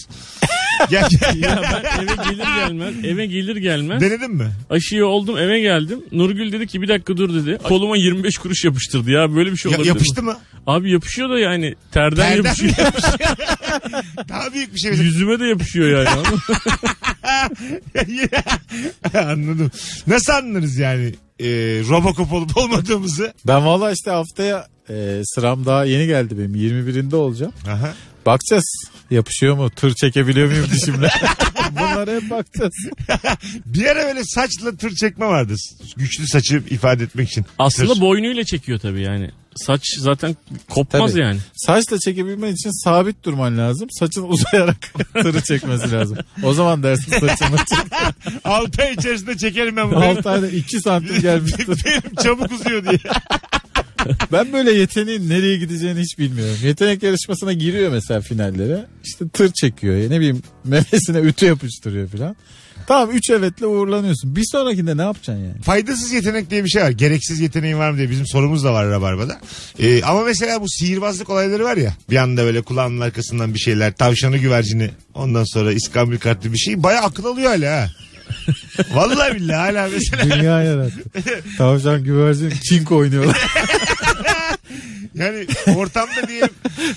Gel, Ya ben eve gelir gelmez, eve gelir gelmez Denedin mi? aşıyı oldum eve geldim. Nurgül dedi ki bir dakika dur dedi. Koluma 25 kuruş yapıştırdı ya böyle bir şey Ya, olabilir yapıştı mi? mı? Abi yapışıyor da yani terden, Terden yapışıyor. Daha büyük bir şey. Yüzüme de yapışıyor yani. Anladım. Nasıl anlarız yani e, Robocop olup olmadığımızı? ben valla işte haftaya e, sıram daha yeni geldi benim. 21'inde olacağım. Aha. Bakacağız. Yapışıyor mu? Tır çekebiliyor muyum dişimle? Bunlara hep bakacağız. Bir ara böyle saçla tır çekme vardı. Güçlü saçı ifade etmek için. Aslında Tır. boynuyla çekiyor tabii yani. Saç zaten kopmaz Tabii. yani. Saçla çekebilmen için sabit durman lazım. Saçın uzayarak tırı çekmesi lazım. O zaman dersin saçını çek. Altı ay içerisinde çekerim ben bunu. 6 ayda 2 santim gelmiştir. Benim çabuk uzuyor diye. Ben böyle yeteneğin nereye gideceğini hiç bilmiyorum. Yetenek yarışmasına giriyor mesela finallere. İşte tır çekiyor. Ne bileyim memesine ütü yapıştırıyor falan. Tamam 3 evetle uğurlanıyorsun. Bir sonrakinde ne yapacaksın yani? Faydasız yetenek diye bir şey var. Gereksiz yeteneğin var mı diye bizim sorumuz da var Rabarba'da. Ee, ama mesela bu sihirbazlık olayları var ya. Bir anda böyle kulağının arkasından bir şeyler. Tavşanı güvercini. Ondan sonra iskambil kartlı bir şey. Baya akıl alıyor hala ha. Vallahi billahi hala mesela. Dünya yarattı. Tavşan güvercin kink oynuyorlar. Yani ortamda diyelim.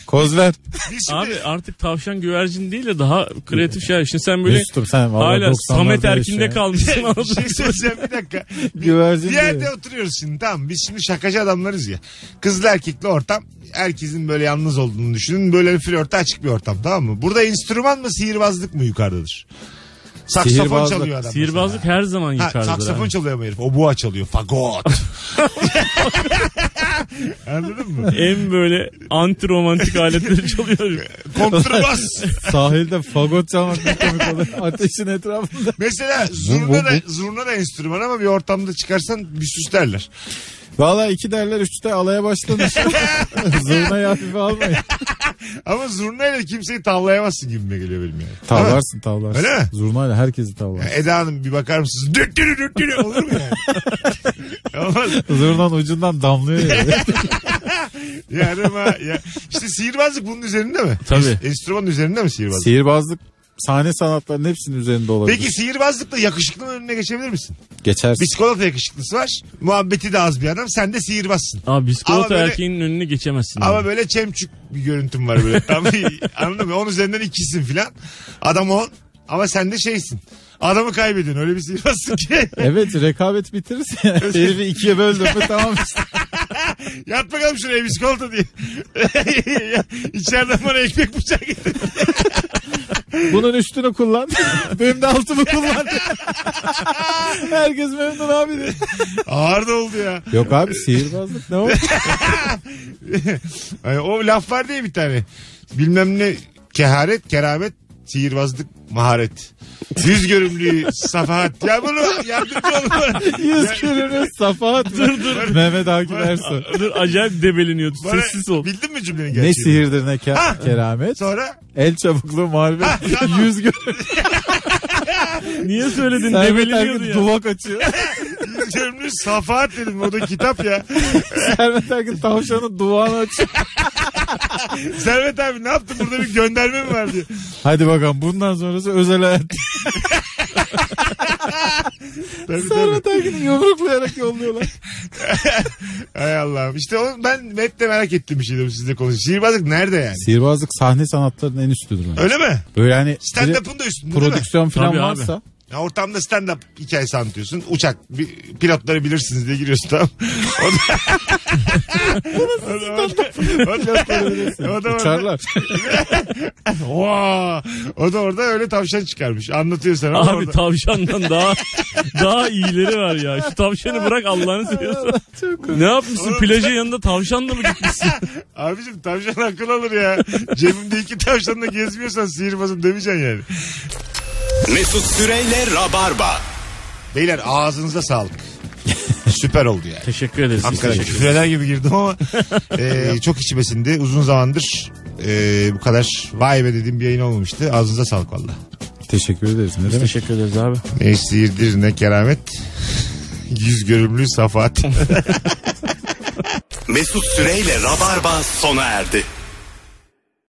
Kozver. Biz şimdi- Abi artık tavşan güvercin değil de daha kreatif şeyler. Şimdi sen böyle Mesut'um sen valla hala 90'larda Samet yaşıyorsun Erkin'de ya. kalmışsın. bir şey söyleyeceğim bir dakika. Güvercin Bir diyor. yerde oturuyoruz şimdi tamam. Biz şimdi şakacı adamlarız ya. Kızlı erkekli ortam. Herkesin böyle yalnız olduğunu düşünün. Böyle flörte açık bir ortam tamam mı? Burada enstrüman mı sihirbazlık mı yukarıdadır? Saksafon Sihirbazlık. çalıyor adam. Sihirbazlık her zaman mesela. Ha, yukarıdır. saksafon abi. çalıyor ama herif. Obuğa çalıyor. Fagot. Anladın mı? En böyle anti romantik aletleri çalıyor. Kontrbas. Sahilde fagot çalmak ne komik olur. Ateşin etrafında. Mesela Bu- zurna bu- da, zurna da enstrüman ama bir ortamda çıkarsan bir süslerler. Valla iki derler üçte alaya başlanır. Zurnayı hafife almayın. Ama zurnayla kimseyi tavlayamazsın gibime geliyor benim yani. Ama- Tavlarsın tavlarsın. Öyle mi? Zurnayla herkesi tavlarsın. Eda Hanım bir bakar mısınız? Düt dürü düt dürü. olur mu yani? Olmaz. Zurnanın ucundan damlıyor ya. Yani ama ya. İşte sihirbazlık bunun üzerinde mi? Tabii. Enstrümanın üzerinde mi sihirbazlık? Sihirbazlık sahne sanatlarının hepsinin üzerinde olabilir. Peki sihirbazlıkla yakışıklının önüne geçebilir misin? Geçersin. Biskolata yakışıklısı var. Muhabbeti de az bir adam. Sen de sihirbazsın. Abi Ama biskolata böyle- erkeğinin önüne geçemezsin. Ama abi. böyle çemçük bir görüntüm var böyle. Tam anladın mı? Onun üzerinden ikisin filan. Adam on ama sen de şeysin. Adamı kaybediyorsun. Öyle bir sihirbazsın ki. Evet rekabet bitirirse herifi ikiye böldüm mü tamam işte. Yat bakalım şuraya biskolata diye. İçeriden bana ekmek bıçağı getir. Bunun üstünü kullan. Benim de altımı kullan. Herkes memnun abi. de. Ağır da oldu ya. Yok abi sihirbazlık ne o? Hani o laf var diye bir tane. Bilmem ne keharet, keramet, sihirbazlık, maharet. Yüz görümlüğü, safahat. Ya bunu yardımcı olun bana. Yüz kürünü safahat. Dur dur. Mehmet Akif Ersoy. Dur acayip debeleniyordu. Bana- Sessiz ol. Bildin mi cümlenin gerçeğini? Ne sihirdir ne ke- Ha! keramet. Sonra El çabukluğu muhalefet. Ha, tamam. Yüz görünüyor. Niye söyledin Servet debeleniyordu ya. Ergin duvak açıyor. yüz görümlüğü safahat dedim. O da kitap ya. Servet Ergin tavşanın duvağını açıyor. Servet abi ne yaptın? Burada bir gönderme mi var diye. Hadi bakalım bundan sonrası özel hayat. Tabii, tabii. Servet Ergin'i yumruklayarak yolluyorlar. Hay Allah'ım. İşte oğlum ben hep de merak ettim bir şeydim sizle konuşayım. Sihirbazlık nerede yani? Sihirbazlık sahne sanatlarının en üstüdür. bence. Öyle mi? Böyle hani biri Stand-up'ın da üstünde değil mi? prodüksiyon falan Tabii abi. varsa Ya ortamda stand-up hikayesi anlatıyorsun. Uçak bir- pilotları bilirsiniz diye giriyorsun tamam. O da... o da orada, o da, o da orada, uçarlar. Vaa! o da orada öyle tavşan çıkarmış. Anlatıyor sana. ama Abi orada- tavşandan daha daha iyileri var ya. Şu tavşanı bırak Allah'ını seviyorsan. ne yapmışsın? Plaja yanında tavşanla mı gitmişsin? Abicim tavşan akıl alır ya. Cebimde iki tavşanla gezmiyorsan sihirbazım demeyeceksin yani. Mesut Süreyle Rabarba. Beyler ağzınıza sağlık. Süper oldu yani. Teşekkür ederiz. Hakikaten Teşekkür küfür eder gibi girdim ama e, çok içime sindi. Uzun zamandır e, bu kadar vay be dediğim bir yayın olmamıştı. Ağzınıza sağlık valla. Teşekkür ederiz. Ne demek? Teşekkür ederiz abi. Ne sihirdir ne keramet. Yüz görümlü safahat. Mesut Süreyle Rabarba sona erdi.